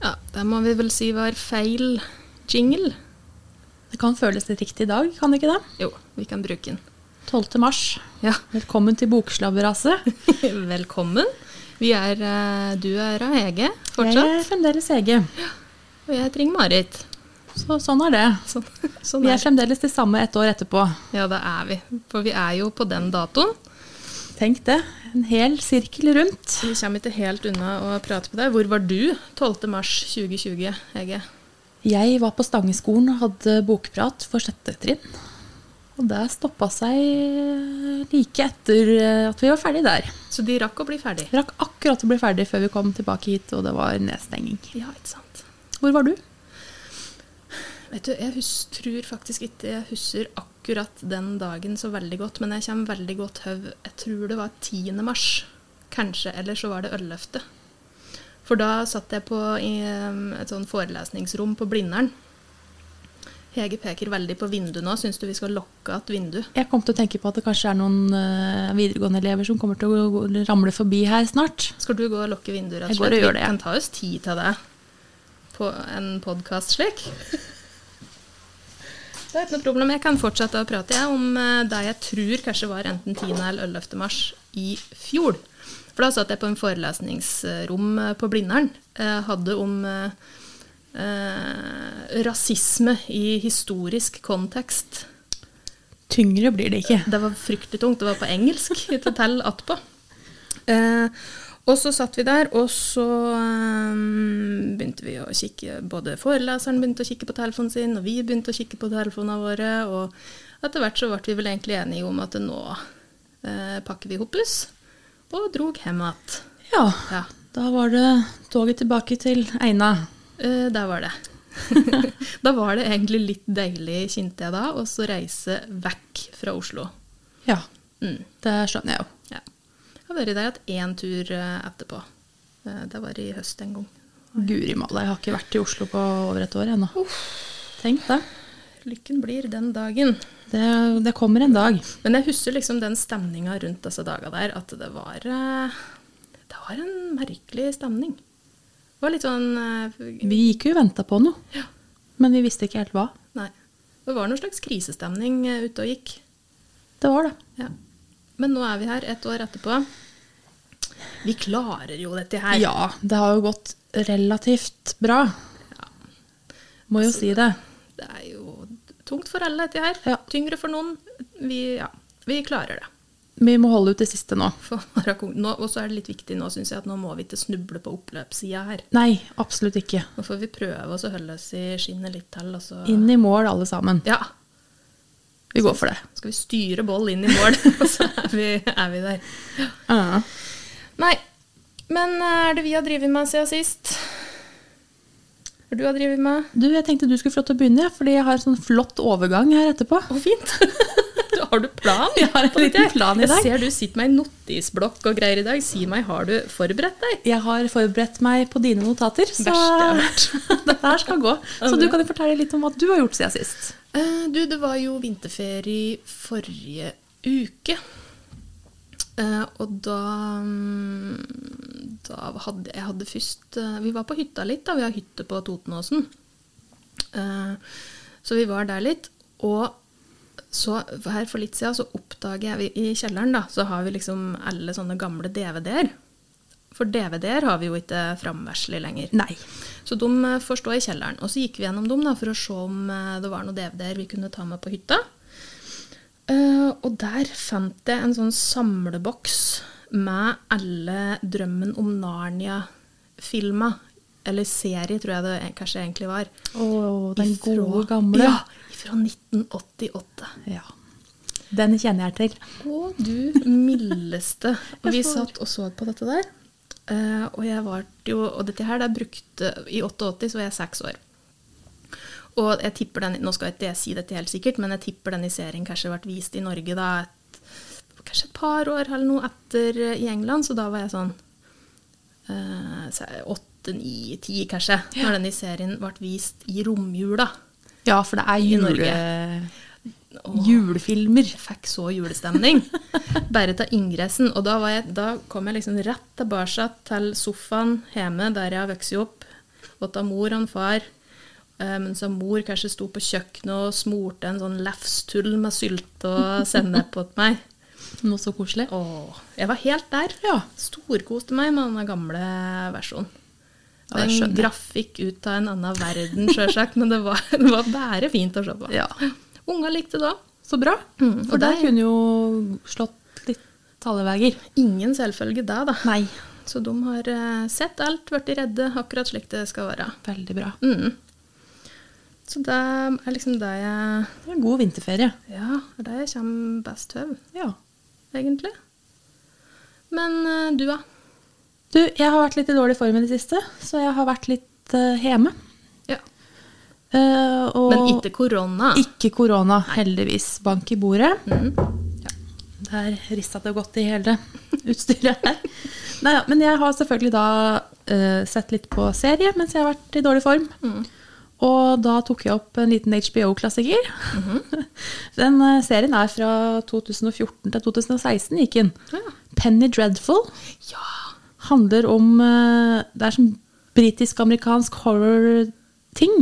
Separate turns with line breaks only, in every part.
Dette må vi vel si var feil jingle.
Det kan føles litt riktig i dag, kan det ikke det?
Jo, vi kan bruke den.
12. mars.
Ja,
Velkommen til Bokslabberaset.
velkommen. Vi er, eh, du er av Hege
Jeg er
fortsatt,
fremdeles Hege.
og jeg heter Ingmarit.
Så sånn er det.
Sånn, sånn
Vi
er
er
det.
fremdeles det samme et år etterpå.
Ja, det er vi. For vi er jo på den datoen.
Tenk det. En hel sirkel rundt.
Vi kommer ikke helt unna å prate med deg. Hvor var du 12. mars 2020, Hege?
Jeg var på Stangeskolen og hadde bokprat for sjette trinn. Og det stoppa seg like etter eh, at vi var ferdig der.
Så de rakk å bli ferdig.
Vi rakk akkurat å bli ferdig før vi kom tilbake hit, og det var nedstenging.
Ja, ikke sant.
Hvor var du?
Vet du, jeg hus tror faktisk ikke jeg husker akkurat den dagen så veldig godt, men jeg kommer veldig godt høv. Jeg tror det var 10. mars, kanskje, eller så var det 11. For da satt jeg på i um, et sånn forelesningsrom på Blindern. Hege peker veldig på vinduet nå. Syns du vi skal lokke et vindu?
Jeg kom til å tenke på at det kanskje er noen eh, videregående elever som kommer til å gå- ramle forbi her snart.
Skal du gå og lukke vinduer? rett og
Jeg går og
slett?
gjør
Vi
det, jeg.
kan ta oss tid til det på en podkast slik. Det er ikke noe problem. Jeg kan fortsette å prate jeg, om eh, det jeg tror kanskje var enten 10. eller 11. mars i fjor. For da satt jeg på en forelesningsrom eh, på Blindern. eh, Hadde om eh, eh, rasisme i historisk kontekst.
Tyngre blir det ikke.
Det var fryktelig tungt. Det var på engelsk. Ikke tell attpå. Eh, og så satt vi der, og så eh, begynte vi å kikke Både foreleseren begynte å kikke på telefonen sin, og vi begynte å kikke på telefonene våre. Og etter hvert så ble vi vel egentlig enige om at nå eh, pakker vi hoppus, og drog hjem igjen.
Ja,
Ja.
da var det toget tilbake til Eina.
Eh, der var det. da var det egentlig litt deilig, kjente jeg da, å så reise vekk fra Oslo.
Ja,
Mm.
det skjønner jeg jo.
Ja. Jeg har vært der hatt én tur eh, etterpå. Eh, Det var i høst en gang.
Guri malla, jeg har ikke vært i Oslo på over et år ennå. Tenk det.
Lykken blir den dagen.
det. Det kommer en dag.
Men jeg husker liksom den stemninga rundt disse daga der, at det var eh, Det var en merkelig stemning. Det var litt sånn eh,
Vi gikk jo og venta på noe,
Ja.
men vi visste ikke helt hva.
Nei. Det var noen slags krisestemning eh, ute og gikk.
Det var det.
Ja. Men nå er vi her, et år etterpå. Vi klarer jo dette her.
Ja, det har jo gått relativt bra. Må jo si det.
Det er jo tungt for alle, dette her.
Ja.
Tyngre for noen. Vi, ja, vi klarer det.
Vi må holde ut det siste nå.
For å være kong- nå, og så er det litt viktig nå, syns jeg, at nå må vi ikke snuble på oppløpssida her.
Nei, absolutt ikke.
Nå får vi prøve oss å holde oss i skinnet litt til, og så
Inn i mål, alle sammen.
Ja.
Vi går for det.
Skal vi styre boll inn i mål, og så er vi, er vi der.
Ja.
Nei. Men eh, er det vi har drevet med siden sist? Hva er det du har drevet med?
Du, jeg tenkte du skulle få lov til å begynne, fordi jeg har en sånn flott overgang her etterpå.
Å, fint! Du- har du plan?
Jeg har en
på dette?
liten plan i dag.
Jeg ser du sitter med ei notisblokk og greier i dag. Si meg, har du forberedt deg?
Jeg har forberedt meg på dine notater, så
Verst jeg
dette her skal gå. Så du kan jo fortelle litt om hva du har gjort siden sist.
Eh, du, det var jo vinterferie forrige uke. Eh, og da, mm, da hadde jeg hadde først eh, Vi var på hytta litt, da. Vi har hytte på Totenåsen. Eh, så vi var der litt. Og så her for litt siden så oppdager jeg vi- I kjelleren da, så har vi liksom alle sånne gamle DVD-er. For DVD-er har vi jo ikke framverslig lenger.
Nei.
Så de eh, får stå i kjelleren. Og så gikk vi gjennom dem da, for å se om eh, det var noen DVD-er vi kunne ta med på hytta. Eh, og der fant jeg en sånn samleboks med alle Drømmen om Narnia-filma. Eller serie, tror jeg det e- kanskje egentlig var.
Å, den
Ifra-
gode gamle.
Ja, fra 1988.
Ja. Den kjenner jeg til.
Å, du mildeste. Og vi
Jeg får-
satt og så på dette der. eh, og jeg var jo Og dette her det brukte I 88 så var jeg seks år. Og jeg tipper den Nå skal ikke jeg si dette helt sikkert, men jeg tipper den i serien kanskje ble vist i Norge da et, kanskje et par år eller noe etter eh, i England, så da var jeg sånn eh, åtte, ni, ti, kanskje, når den i serien ble vist i romjula.
Ja, for det er
I
jule... julefilmer.
jeg fikk så julestemning. Bare ta ingressen. Og da, var jeg, da kom jeg liksom rett tilbake til sofaen hjemme der jeg har vokst opp, og at da mor og en far eh, mens da mor kanskje sto på kjøkkenet og smurte en sånn lefstull med sylte og sennep på meg.
Noe så koselig.
Åh, jeg var helt der.
Ja.
Storkoste meg med denne gamle versjonen.
Ja, det
Det er en
skjønner jeg.
grafikk ut av en annen verden, sjølsagt, men det var, det var bare fint å se på.
Ja.
Unga likte det òg.
Så bra.
Mm,
For
og
der
deg?
kunne jo slått litt alle veier.
Ingen selvfølge det, da.
Nei.
Så de har eh, sett alt, blitt redde, akkurat slik det skal være.
Veldig bra.
Mm. Så det er liksom det jeg
Det var en god vinterferie.
Ja, det er det jeg kommer best til,
Ja.
egentlig. Men eh, du, da?
Du, jeg har vært litt i dårlig form i det siste, så jeg har vært litt eh, hjemme.
Ja.
Eh, og
Men ikke korona.
ikke korona, heldigvis. Bank i bordet.
Mhm.
Der rista det godt i hele utstyret her. Nei, ja, men jeg har selvfølgelig da eh, sett litt på serie mens jeg har vært i dårlig form.
Mhm.
Og da tok jeg opp en liten HBO-klassiker.
Mhm.
Den eh, serien er fra 2014 til 2016, gikk den.
Ja.
Penny Dreadful
Ja.
handler om eh, Det er sånn britisk-amerikansk horror-ting.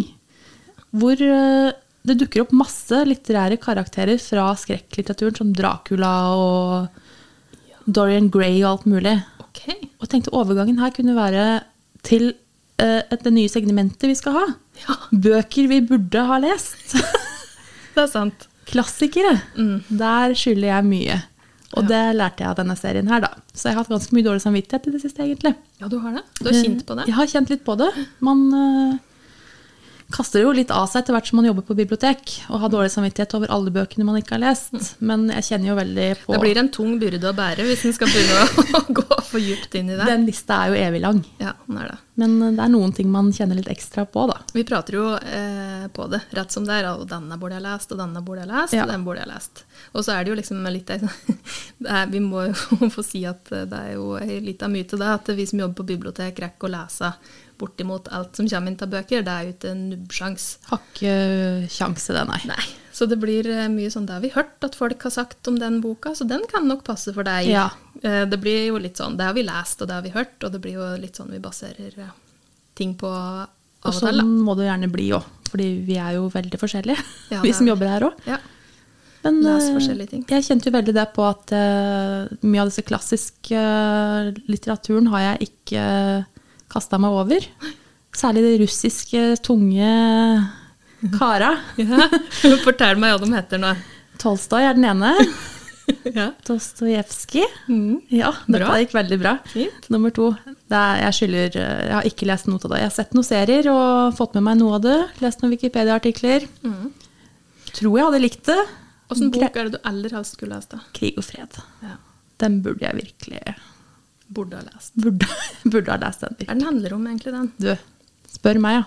Hvor eh, det dukker opp masse litterære karakterer fra skrekklitteraturen, som Dracula og Dorian Gray og alt mulig.
OK.
Og tenkte overgangen her kunne være til eh, et- det nye segmentet vi skal ha.
Ja,
Bøker vi burde ha lest.
det er sant. Mm.
Klassikere. Der skylder jeg mye. Og det lærte jeg av denne serien her, da. Så jeg har hatt ganske mye dårlig samvittighet i det siste, egentlig.
Ja, du har det? Du har kjent på det?
Eh, Jeg har kjent litt på det. Man eh, kaster jo litt av seg etter hvert som man jobber på bibliotek, og har dårlig samvittighet over alle bøkene man ikke har lest. Men jeg kjenner jo veldig på
Mm. Det blir en tung byrde å bære hvis en skal begynne å gå for djupt inn i det.
Den lista er jo evig lang.
Ja, den er det.
Men eh, det er noen ting man kjenner litt ekstra på, da.
Vi prater jo eh, på det rett som det er. Og denne burde jeg lest, og denne burde jeg lest,
Ja.
og den burde jeg lest. Og så er det jo liksom litt det er, Vi må jo få si at eh, det er jo ei lita myte det, at vi som jobber på bibliotek, rekker å lese bortimot alt som kommer inn av bøker. Det er jo ikke en nubbsjans.
Har ikke kjangs til det, nei.
Nei. Så det blir eh, mye sånn det har vi hørt at folk har sagt om den boka, så den kan nok passe for deg.
Ja.
Eh, Det blir jo litt sånn Det har vi lest, og det har vi hørt, og det blir jo litt sånn vi baserer eh, ting på av
Og
og til.
sånn
da.
må det jo gjerne bli òg, fordi vi er jo veldig forskjellige,
Ja, det
vi
er
som
vi.
jobber her òg.
Ja.
Men
Les
eh,
forskjellige ting.
jeg kjente jo veldig det på at eh, mye av disse klassiske eh, litteraturen har jeg ikke uh, kasta meg over. Særlig de russiske, tunge kara.
Fortell meg hva de heter nå.
Tolstoy er den ene.
Ja.
Dostojevskij.
Mm.
Ja, dette
Bra.
gikk veldig bra.
Fint.
Nummer to. Det er, jeg, skylder, eh, jeg har ikke lest noe av det. Jeg har sett noen serier og fått med meg noe av det. Lest noen Wikipedia-artikler. Tror jeg hadde likt det.
Mm. Åssen bok er det du aller helst skulle lest? da?
Krig og fred. Den burde jeg virkelig
Burde ha lest.
Burde, burde ha lest den.
Hva er den handler om, egentlig, den?
Du, spør meg, ja.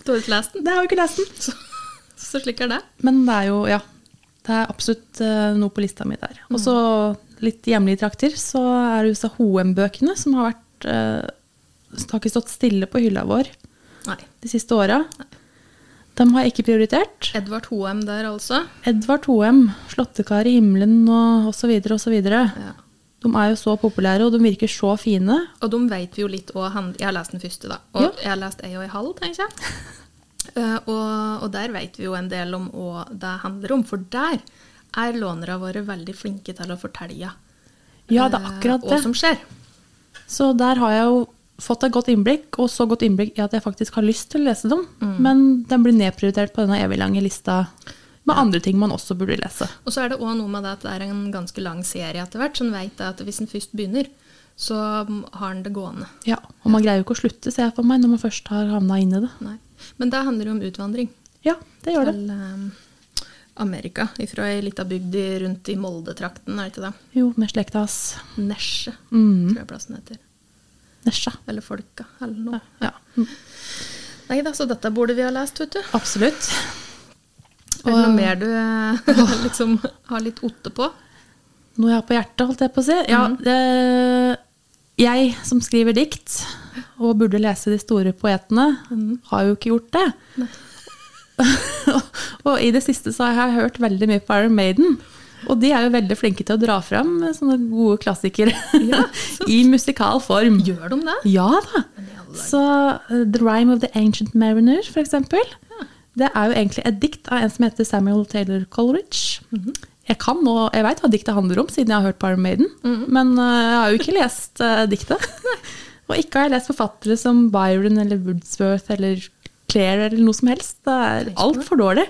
Du har ikke lest den,
Det har jo ikke lest den.
så, så slik er det.
Men det er jo, ja. Det er absolutt eh, noe på lista mi der. Og så litt hjemlige trakter, så er det disse Hoem-bøkene som har vært eh, Det har ikke stått stille på hylla vår
Nei.
de siste åra. Dem har jeg ikke prioritert.
Edvard Hoem der, altså.
Edvard Hoem, 'Slåttekar i himmelen' og osv. osv.
Ja.
De er jo så populære, og de virker så fine.
Og de vet vi jo litt òg. Jeg har lest den første, da. Og
Ja.
jeg har lest ei og ei halv, tenker jeg. Eh, og, og der vet vi jo en del om hva det handler om. For der er lånerne våre veldig flinke til å fortelle
Ja, det er
eh,
akkurat
hva
det.
som skjer.
Så der har jeg jo fått et godt innblikk, og så godt innblikk i at jeg faktisk har lyst til å lese dem. Men den blir nedprioritert på denne evig lange lista med andre ting man også burde lese.
Og så er det òg noe med det at det er en ganske lang serie etter hvert, så en veit at hvis en først begynner, så har en det gående.
Ja, Og man greier jo ikke å slutte, ser jeg for meg, når man først har havna inn i det.
Nei. Men det handler jo om utvandring
Ja, det gjør det.
til eh, Amerika. Ifra ei lita bygd i- rundt i Moldetrakten, er det ikke det?
Jo, med slekta hans.
Nesje,
Mm.
tror jeg plassen heter.
Nesja.
Eller Folka, eller noe.
Ja, Mm.
Nei da, så dette burde vi ha lest, vet du.
absolutt.
Er det noe mer du eh, liksom har litt otte på?
Noe jeg har på hjertet, holdt jeg på å si. Ja, det, jeg som skriver dikt, og burde lese de store poetene, har jo ikke gjort det. og i det siste så har jeg hørt veldig mye på Iron Maiden. Og de er jo veldig flinke til å dra fram sånne gode klassikere i musikal form.
Gjør de det?
Ja da.
Men i all alle dager.
Så eh, The Rhyme of the Ancient Mariner, for eksempel, det er jo egentlig et dikt av en som heter Samuel Taylor Coleridge. Jeg kan nå, jeg veit hva diktet handler om, siden jeg har hørt på Iron Maiden, men eh, jeg har jo ikke lest eh, diktet. Og ikke har jeg lest forfattere som Byron eller Woodsworth eller Claire eller noe som helst. Det er altfor dårlig.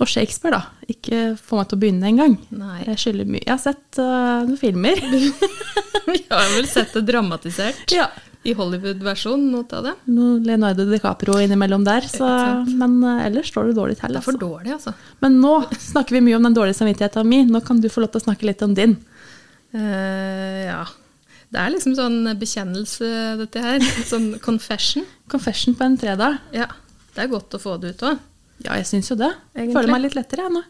Og Shakespeare, da. Ikke få meg til å begynne engang.
Nei.
Jeg skylder mye. Jeg har sett eh, noen filmer.
Vi har vel sett det dramatisert
ja.
i Hollywood-versjonen, noe av det.
noe Leonardo DiCaprio innimellom der, så,
Ikke
men eh, ellers står det dårlig til.
Det er for
Altså.
dårlig, altså.
Men nå snakker vi mye om den dårlige samvittigheten min. Nå kan du få lov til å snakke litt om din.
Eh, ja. Det er liksom sånn bekjennelse, dette her. Sånn confession.
Confession på en fredag.
Ja. Det er godt å få det ut òg.
Ja, jeg syns jo det.
Egentlig.
Føler meg litt lettere jeg nå.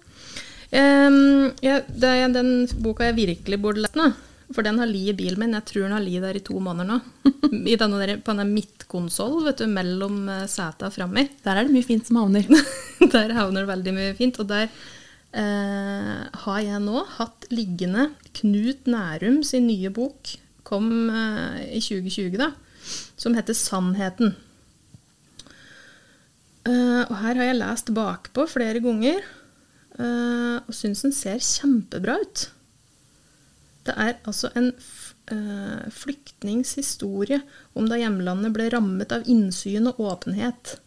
ja, det er den boka jeg virkelig burde lest nå. For den har li i bilen min. Jeg tror den har li der i to måneder nå. I denne der, på denne midtkonsoll, vet du, mellom eh, seta framme.
Der er det mye fint som havner.
der havner det veldig mye fint. Og der eh, har jeg nå hatt liggende Knut Nærum sin nye bok, kom eh, i 2020, da, som heter 'Sannheten'. Eh, og her har jeg lest bakpå flere ganger, eh, og syns den ser kjempebra ut. Det er altså en f- eh, flyktnings historie om da hjemlandet ble rammet av innsyn og åpenhet.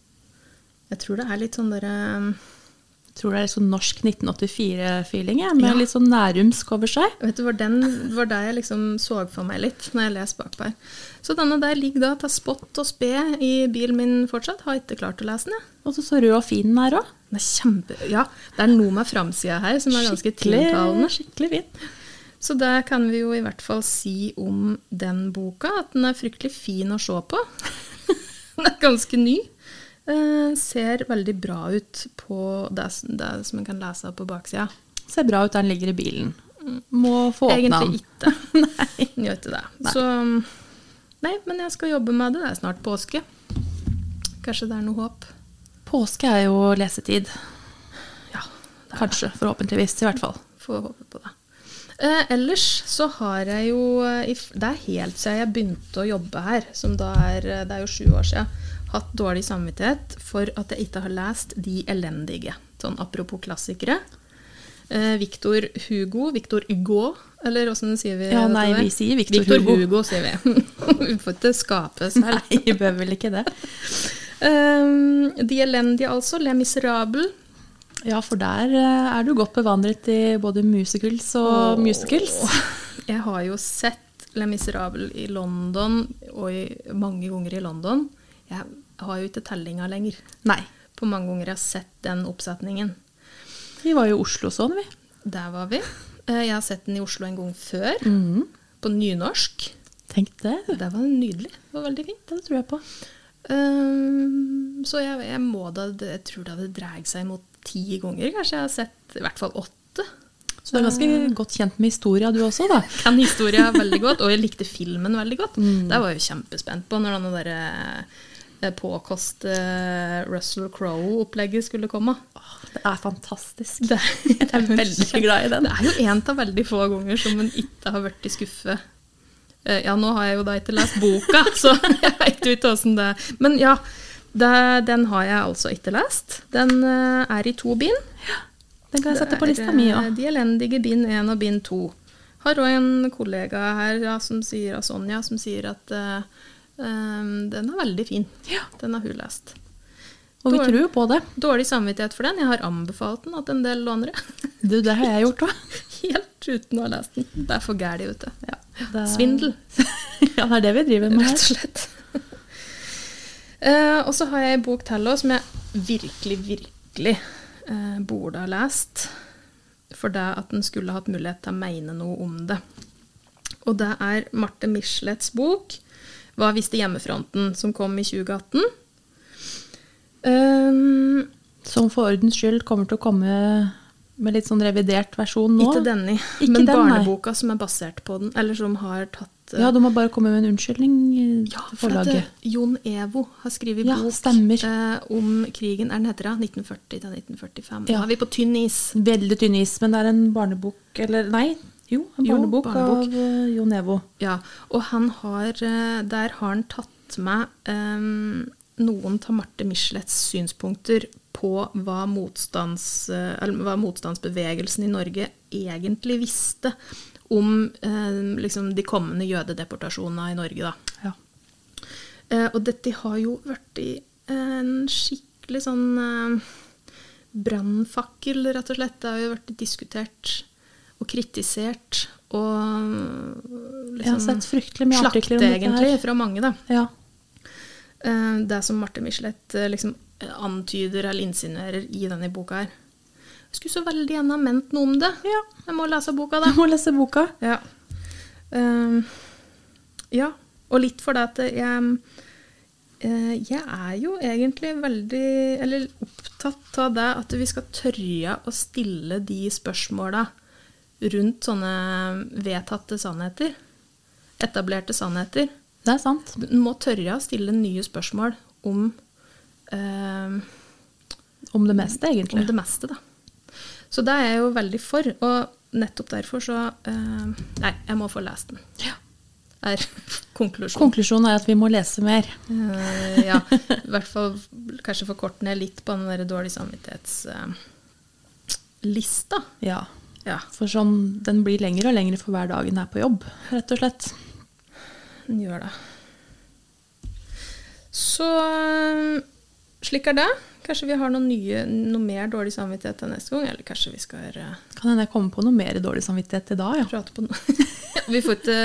Jeg tror det er litt sånn derre
Tror det er litt sånn norsk 1984-feeling, jeg, med
Ja.
litt sånn nærumsk over seg.
Vet du, var den var der jeg liksom så for meg litt når jeg leser bakpå her. Så denne der ligger da til spott og spe i bilen min fortsatt. Har ikke klart å lese den, jeg.
Og så så rød og fin den er òg.
Den er kjempe... Ja, det er noe med framsida her som er ganske tiltalende.
skikkelig fin.
Så det kan vi jo i hvert fall si om den boka, at den er fryktelig fin å se på. den er ganske ny. Eh, ser veldig bra ut på det, s- det som en kan lese på baksida.
Ser bra ut der den ligger i bilen. Må få åpna den.
Egentlig ikke. nei. Gjør ikke det. Så Nei, men jeg skal jobbe med det. Det er snart påske. Kanskje det er noe håp.
Påske er jo lesetid.
Ja,
Kanskje. Forhåpentligvis, i hvert fall.
får håpe på det. Eh, ellers så har jeg jo eh, i f- Det er helt siden jeg begynte å jobbe her, som da er eh, Det er jo sju år siden. Hatt dårlig samvittighet for at jeg ikke har lest De elendige. Sånn apropos klassikere. Eh, Victor Hugo, Victor Hugo, eller åssen sier vi
Ja,
dette
nei,
der?
vi sier Victor Hugo.
Hugo. sier vi. vi får ikke skape selv.
Nei, vi bør vel ikke det.
Um, de elendige, altså. Le Miserable.
Ja, for der eh, er du godt bevandret i både musicals og musicals.
Jeg har jo sett Le Miserable i London, og i, mange ganger i London. Jeg har jo ikke tellinga lenger
Nei.
på mange ganger jeg har sett den oppsetningen.
Vi var jo i Oslo sånn, vi.
Der var vi. Eh, Jeg har sett den i Oslo en gang før, på nynorsk.
Tenk det. du.
Det var nydelig. Det var veldig fint.
Det tror jeg på.
Um, så jeg, jeg må da Jeg tror da det dreier seg mot ti ganger, kanskje. Jeg har sett i hvert fall åtte.
Så du er ganske godt kjent med historia du også, da.
kan historia veldig godt, og jeg likte filmen veldig godt.
Mm.
Det var jeg jo kjempespent på når denne der eh, påkost eh, Russell Crowe-opplegget skulle komme.
Det er fantastisk.
Det, jeg
er veldig glad i den.
Det er jo en av veldig få ganger som en ikke har vært i skuffe. Eh, Ja, nå har jeg jo da ikke lest boka, så jeg veit jo ikke åssen det er. Men ja, det, den har jeg altså ikke lest. Den eh, er i to bind.
Den kan jeg sette på
Det
lista
er,
mi
eh,
òg.
De elendige bind 1 og bind 2. Har òg en kollega her ja, som sier, av Sonja som sier at eh, ehm, den er veldig fin.
Ja.
Den har hun lest.
Og vi
dårlig.
tror jo på det.
Dårlig samvittighet for den. Jeg har anbefalt den til en del lånere.
Du, det har jeg gjort òg.
Helt uten å ha lest den. Det er for gæli, vet du.
Det er-
Svindel,
Ja, det er det vi driver med
rett og
her.
slett. Eh, og så har jeg en bok til også som jeg virkelig, virkelig eh, burde ha lest. For det at den skulle hatt mulighet til å mene noe om det. Og det er Marte Michelets bok 'Hva visste hjemmefronten?', som kom i 2018. Um,
Som for ordens skyld kommer til å komme med litt sånn revidert versjon nå.
ikke denne,
Ikke
men
den, nei.
barneboka som er basert på den, eller som har tatt eh,
Ja, du må bare komme med en unnskyldning eh,
Ja,
til
for at
forlaget.
eh, Jon Evo har skrevet
Ja,
bok
stemmer.
eh, om krigen er den heter da, 1940 til 1945.
Ja.
Da er vi på tynn is.
Veldig tynn is, men det er en barnebok Eller nei, Jo, en
Jo,
barnebok,
barnebok.
av eh, Jo Nevo.
Ja, og han har, eh, der har han tatt med eh, noen av Marte Michelets synspunkter på hva, motstands, eh, eller hva motstandsbevegelsen i Norge egentlig visste om eh, liksom de kommende jødedeportasjonene i Norge. Da.
Ja.
Eh, og dette har jo vært i en skikkelig sånn eh, brannfakkel, rett og slett. Det har jo vært diskutert og kritisert og eh,
Jeg har sett fryktelig mye
slakte,
artikler om dette
egentlig,
her.
fra mange, da.
Ja.
Eh, det som Marte Michelet eh, liksom eh, antyder eller insinuerer i denne boka her. Jeg skulle så veldig gjerne ha ment noe om det.
Ja.
Jeg må lese boka, da.
Du må lese boka.
Ja. Ehm, ja, og litt fordi at jeg eh, Jeg er jo egentlig veldig Eller opptatt av det at vi skal tørre å stille de spørsmåla rundt sånne vedtatte sannheter. Etablerte sannheter.
Det er sant.
Du må tørre å stille nye spørsmål om ehm,
Om det meste, egentlig.
om det meste, da. Så det er jeg jo veldig for, og nettopp derfor så eh, Nei, jeg må få lest den,
Ja.
er konklusjonen.
Konklusjonen er at vi må lese mer.
Eh, ja, i hvert fall kanskje forkorte ned litt på den der dårlig samvittighetslista. lista
Ja.
ja,
For sånn, den blir lengre og lengre for hver dag en er på jobb, rett og slett.
den gjør det. Så eh, slik er det. Kanskje vi har noe, nye, noe mer dårlig samvittighet til neste gang, eller kanskje vi skal eh,
Kan hende jeg kommer på noe mer dårlig samvittighet i dag, ja.
prate på noe. vi, får ikke,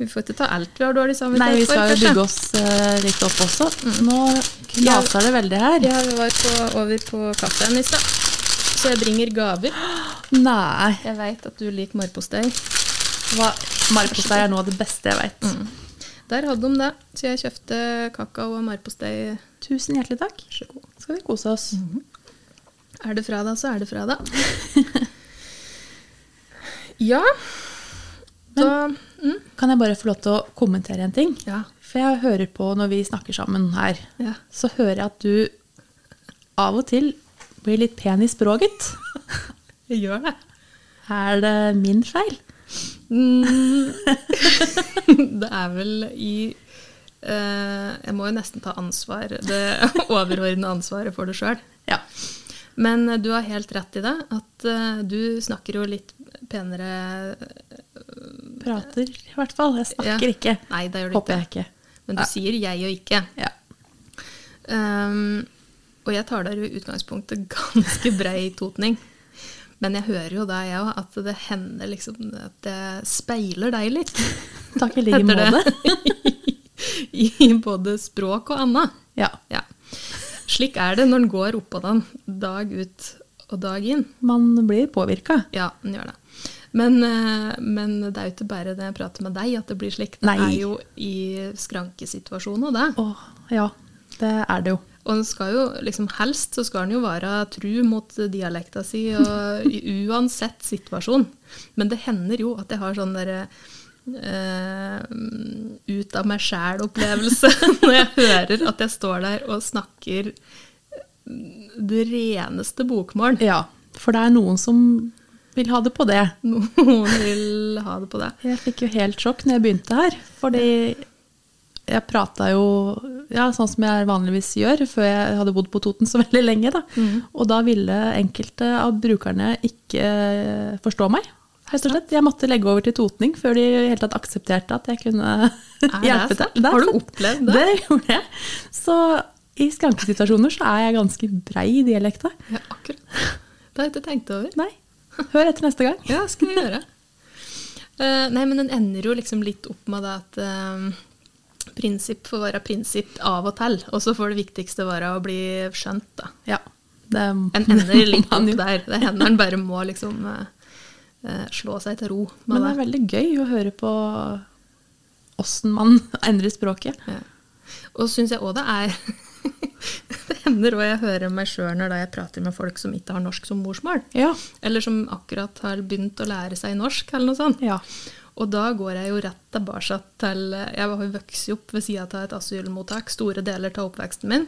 vi får ikke ta alt vi har dårlig
Nei,
samvittighet
vi skal jo
kanskje.
bygge oss eh, litt opp også. Nå knaser det veldig her.
Ja, vi var på, over på kaffen i stad, så jeg bringer gaver.
Nei.
Jeg veit at du liker marpostei.
Hva, marpostei er noe av det beste jeg vet.
Der hadde de det, så jeg kjøpte kakao og marpostei.
Tusen hjertelig takk. Mhm.
Vær så god.
Skal vi kose oss.
Er det fra deg, så er det fra deg. ja. Da mm,
Kan jeg bare få lov til å kommentere en ting?
Ja.
For jeg hører på når vi snakker sammen her,
Ja.
så hører jeg at du av og til blir litt pen i språket.
Jeg gjør det.
Er det min feil?
Mm. det er vel i eh, Jeg må jo nesten ta ansvar, det overordnede ansvaret for det sjøl.
Ja.
Men eh, du har helt rett i det, at eh, du snakker jo litt penere
Prater i hvert fall. Jeg snakker
Ja.
ikke.
Nei, det gjør du
Håper jeg ikke.
ikke. Men du
Nei.
sier 'jeg' og 'ikke'.
Ja.
Ehm, og jeg tar der i utgangspunktet ganske brei totning. Men jeg hører jo det, jeg òg, at det hender liksom at det speiler deg litt.
Takk i like
Heter
måte.
I både språk og anna.
Ja.
Ja. Slik er det når en går oppå den dag ut og dag inn.
Man blir påvirka.
Ja, den gjør det. Men, eh, men det er jo ikke bare det jeg prater med deg at det blir slik. Det
Nei.
er jo i skrankesituasjonen og det.
Åh, ja. Det er det jo.
Og den skal jo, liksom helst så skal den jo være tru mot dialekta si, og i- uansett situasjon. Men det hender jo at jeg har sånn derre eh, ut av meg sjæl-opplevelse når jeg hører at jeg står der og snakker det reneste bokmål.
Ja. For det er noen som vil ha det på det.
Noen vil ha det på det.
Jeg fikk jo helt sjokk når jeg begynte her, fordi jeg prata jo ja, sånn som jeg vanligvis gjør, før jeg hadde bodd på Toten så veldig lenge. Da.
Mhm.
Og da ville enkelte av brukerne ikke forstå meg. Helt og slett. Jeg måtte legge over til totning før de i det hele tatt aksepterte at jeg kunne
det
hjelpe
sant?
til. Det er
Har du
sant.
opplevd det?
Det gjorde jeg. Så i skrankesituasjoner så er jeg ganske brei i dialekta.
Ja, akkurat. Det har jeg ikke tenkt over.
Nei, hør etter neste gang.
Ja, skal jeg gjøre. Eh, nei, men den ender jo liksom litt opp med det at eh, prinsipp får være prinsipp av og til, og så får det viktigste være å bli skjønt, da.
Ja, det
En ender litt
man
opp
jo.
der. Det hender en bare må liksom eh, eh, slå seg til ro med
Men det er veldig gøy å høre på åssen man endrer språket.
Ja. Og syns jeg òg det er Det hender òg jeg hører meg sjøl når da jeg prater med folk som ikke har norsk som morsmål.
Ja.
Eller som akkurat har begynt å lære seg norsk, eller noe sånt.
Ja.
Og da går jeg jo rett tilbake til Jeg har jo vokst opp ved sida av et asylmottak store deler av oppveksten min.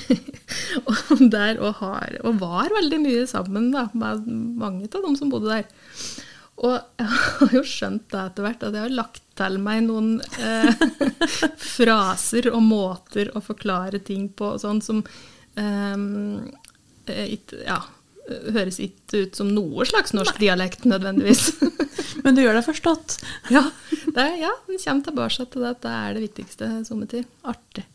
og der og, har, og var veldig mye sammen da, med mange av dem som bodde der. Og jeg har jo skjønt det etter hvert, at jeg har lagt til meg noen eh, fraser og måter å forklare ting på, og sånn som ehm, eh, ikke- ja, høres ikke ut som noe slags norsk dialekt nødvendigvis.
Men du gjør deg forstått.
ja, det, ja, den kommer tilbake til det at det er det viktigste sommertid.
Artig.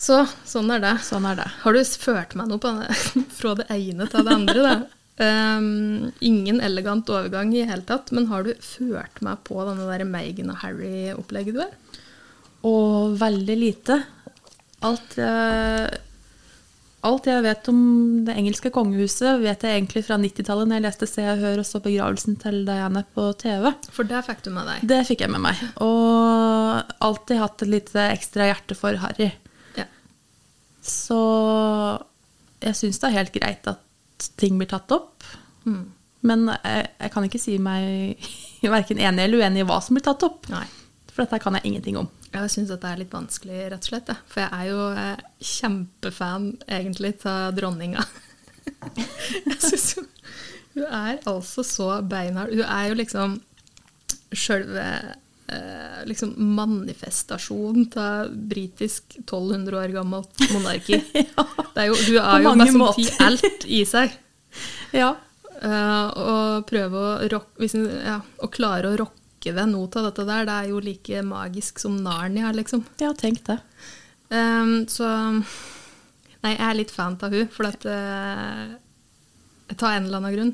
Så sånn er det.
Sånn er det.
Har du ført meg noe på den, fra det ene til det andre? Da? Ehm, ingen elegant overgang i hele tatt, men har du ført meg på denne der Meghan og Harry-opplegget du har?
Og veldig lite. Alt jeg, alt jeg vet om det engelske kongehuset, vet jeg egentlig fra 90-tallet, når jeg leste Se og Hør og så begravelsen til Diana på TV.
For det fikk du med deg.
Det fikk jeg med meg. Og alltid hatt et lite ekstra hjerte for Harry.
Ja.
Så jeg syns det er helt greit at ting blir tatt opp.
Mm.
Men jeg, jeg kan ikke si meg verken enig eller uenig i hva som blir tatt opp.
Nei.
For dette kan jeg ingenting om.
Jeg syns det er litt vanskelig, rett og slett. jeg. For jeg er jo eh, kjempefan, egentlig, av dronninga. Jeg syns jo Hun er altså så beinhard. Hun er jo liksom sjølve eh, liksom manifestasjonen av britisk 1200 år gammelt monarki. Det er jo, hun
På
er jo
mange
mest som ti
måter.
alt i seg.
Ja.
Eh, og prøve å, rock, hvis, en- ja, å klare å rocke ved noe av dette der, det er jo like magisk som Narnia, liksom.
Ja, tenk det.
Ehm, så Nei, jeg er litt fan av hun, for at eh, Jeg tar en eller annen grunn.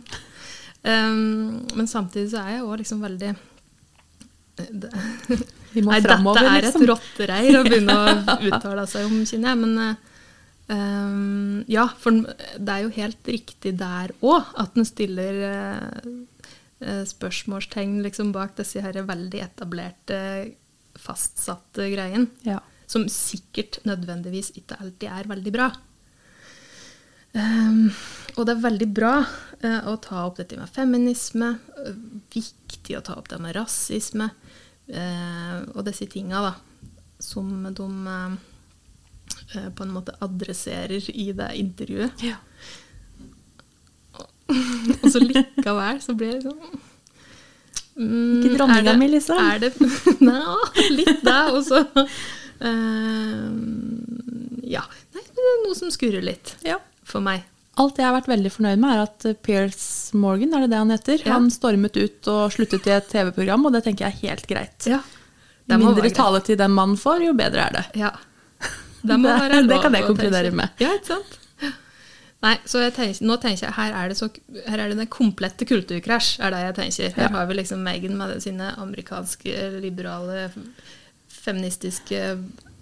Ehm, men samtidig så er jeg òg liksom veldig det,
Vi må
Nei,
framover,
dette er
liksom.
et rottereir å begynne å uttale seg om, kjenner jeg. Men eh, ehm, ja, for det er jo helt riktig der òg at en stiller eh, eh, spørsmålstegn liksom bak disse her veldig etablerte, fastsatte greiene
Ja.
som sikkert nødvendigvis ikke alltid er veldig bra. Ehm, og det er veldig bra eh, å ta opp dette med feminisme, eh, viktig å ta opp det med rasisme, eh, og disse tinga da, som de eh, eh, på en måte adresserer i det intervjuet.
Ja.
Og så likevel så blir det sånn mm,
Ikke dronninga
er det-
mi, liksom.
Er det Nja, litt det, og så eh, Ja. Nei, det er noe som skurrer litt
ja.
for meg.
Alt jeg har vært veldig fornøyd med, er at eh, Piers Morgan, er det det han heter,
Ja.
han stormet ut og sluttet i et TV-program, og det tenker jeg er helt greit.
Ja.
Jo
Det må
mindre
være greit.
taletid den mannen får, jo bedre er det.
ja. Det, må
Det-
være lov
det kan jeg
å tenke.
konkludere med.
Ja, ikke sant? Nei, så jeg tenker, nå tenker jeg her er det, så, her er det den komplette kulturkrasj, er det jeg tenker. Her
Ja.
har vi liksom Meghan med sine amerikanske, liberale, feministiske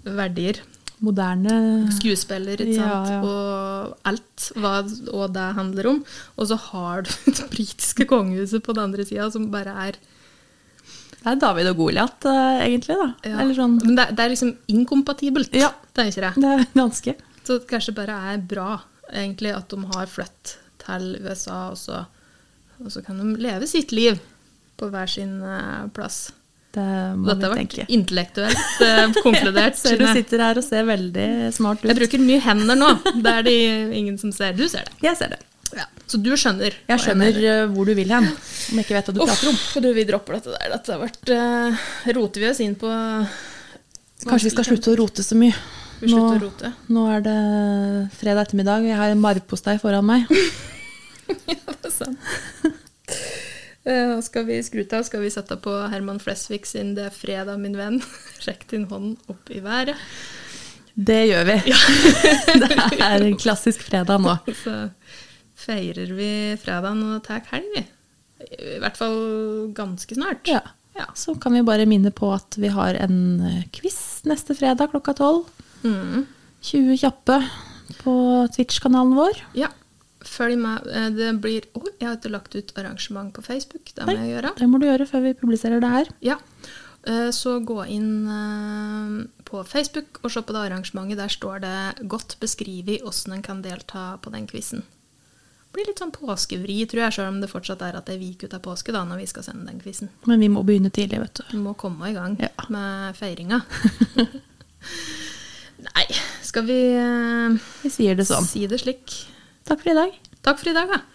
verdier.
Moderne
skuespiller, ikke
Ja,
sant?
ja.
og alt hva og det handler om. Og så har du det britiske kongehuset på den andre sida, som bare er
Det er David og Goliat, eh, egentlig, da.
ja.
Eller sånn.
Men det, er- det er liksom inkompatibelt,
Ja.
tenker jeg.
Det er ganske.
Så det kanskje bare er bra, egentlig, at de har flytt til USA, og så, og så kan de leve sitt liv på hver sin eh, plass.
Det må
Dette har
vi
vært
tenke.
intellektuelt eh, konkludert.
Så du
Synne.
sitter her og ser veldig smart ut.
jeg bruker mye hender nå. Det er det ingen som ser. Du ser det.
Jeg ser det.
Ja. Så du skjønner. hva
Jeg skjønner eh, hvor du vil hen, om jeg ikke vet hva du prater om.
Uff, du, vi dropper dette der. Dette har vært eh, Roter vi oss inn på
Kanskje vi skal slutte å rote så mye.
Vi slutter å rote.
nå er det fredag ettermiddag, og jeg har en marvpostei foran meg.
Ja, det er sant. Eh, og skal vi skrute av, skal vi sette på Herman Flesvig sin 'Det er fredag, min venn'. Rekk din hånd opp i været.
Det gjør vi. det er en klassisk fredag nå.
Så feirer vi fredagen og tar helg, vi. I hvert fall ganske snart.
Ja.
Ja.
Så kan vi bare minne på at vi har en eh, quiz neste fredag klokka tolv.
Mm.
20 kjappe på Twitch-kanalen vår.
ja. Følg med. Eh, Det blir Å, jeg har ikke lagt ut arrangement på Facebook. Det må jeg gjøre.
Det må du gjøre før vi publiserer det her.
Ja. Eh, Så gå inn eh, på Facebook og se på det arrangementet. Der står det godt beskrevet hvordan en kan delta på den quizen. Blir litt sånn påskevri, tror jeg, sjøl om det fortsatt er at det er vik ut av påske da, når vi skal sende den quizen.
Men vi må begynne tidlig, vet du.
Vi må komme i gang
Ja.
med feiringa. Nei, skal vi eh,
Vi sier det sånn.
si det slik?
Takk for i dag.
Takk for i dag, da.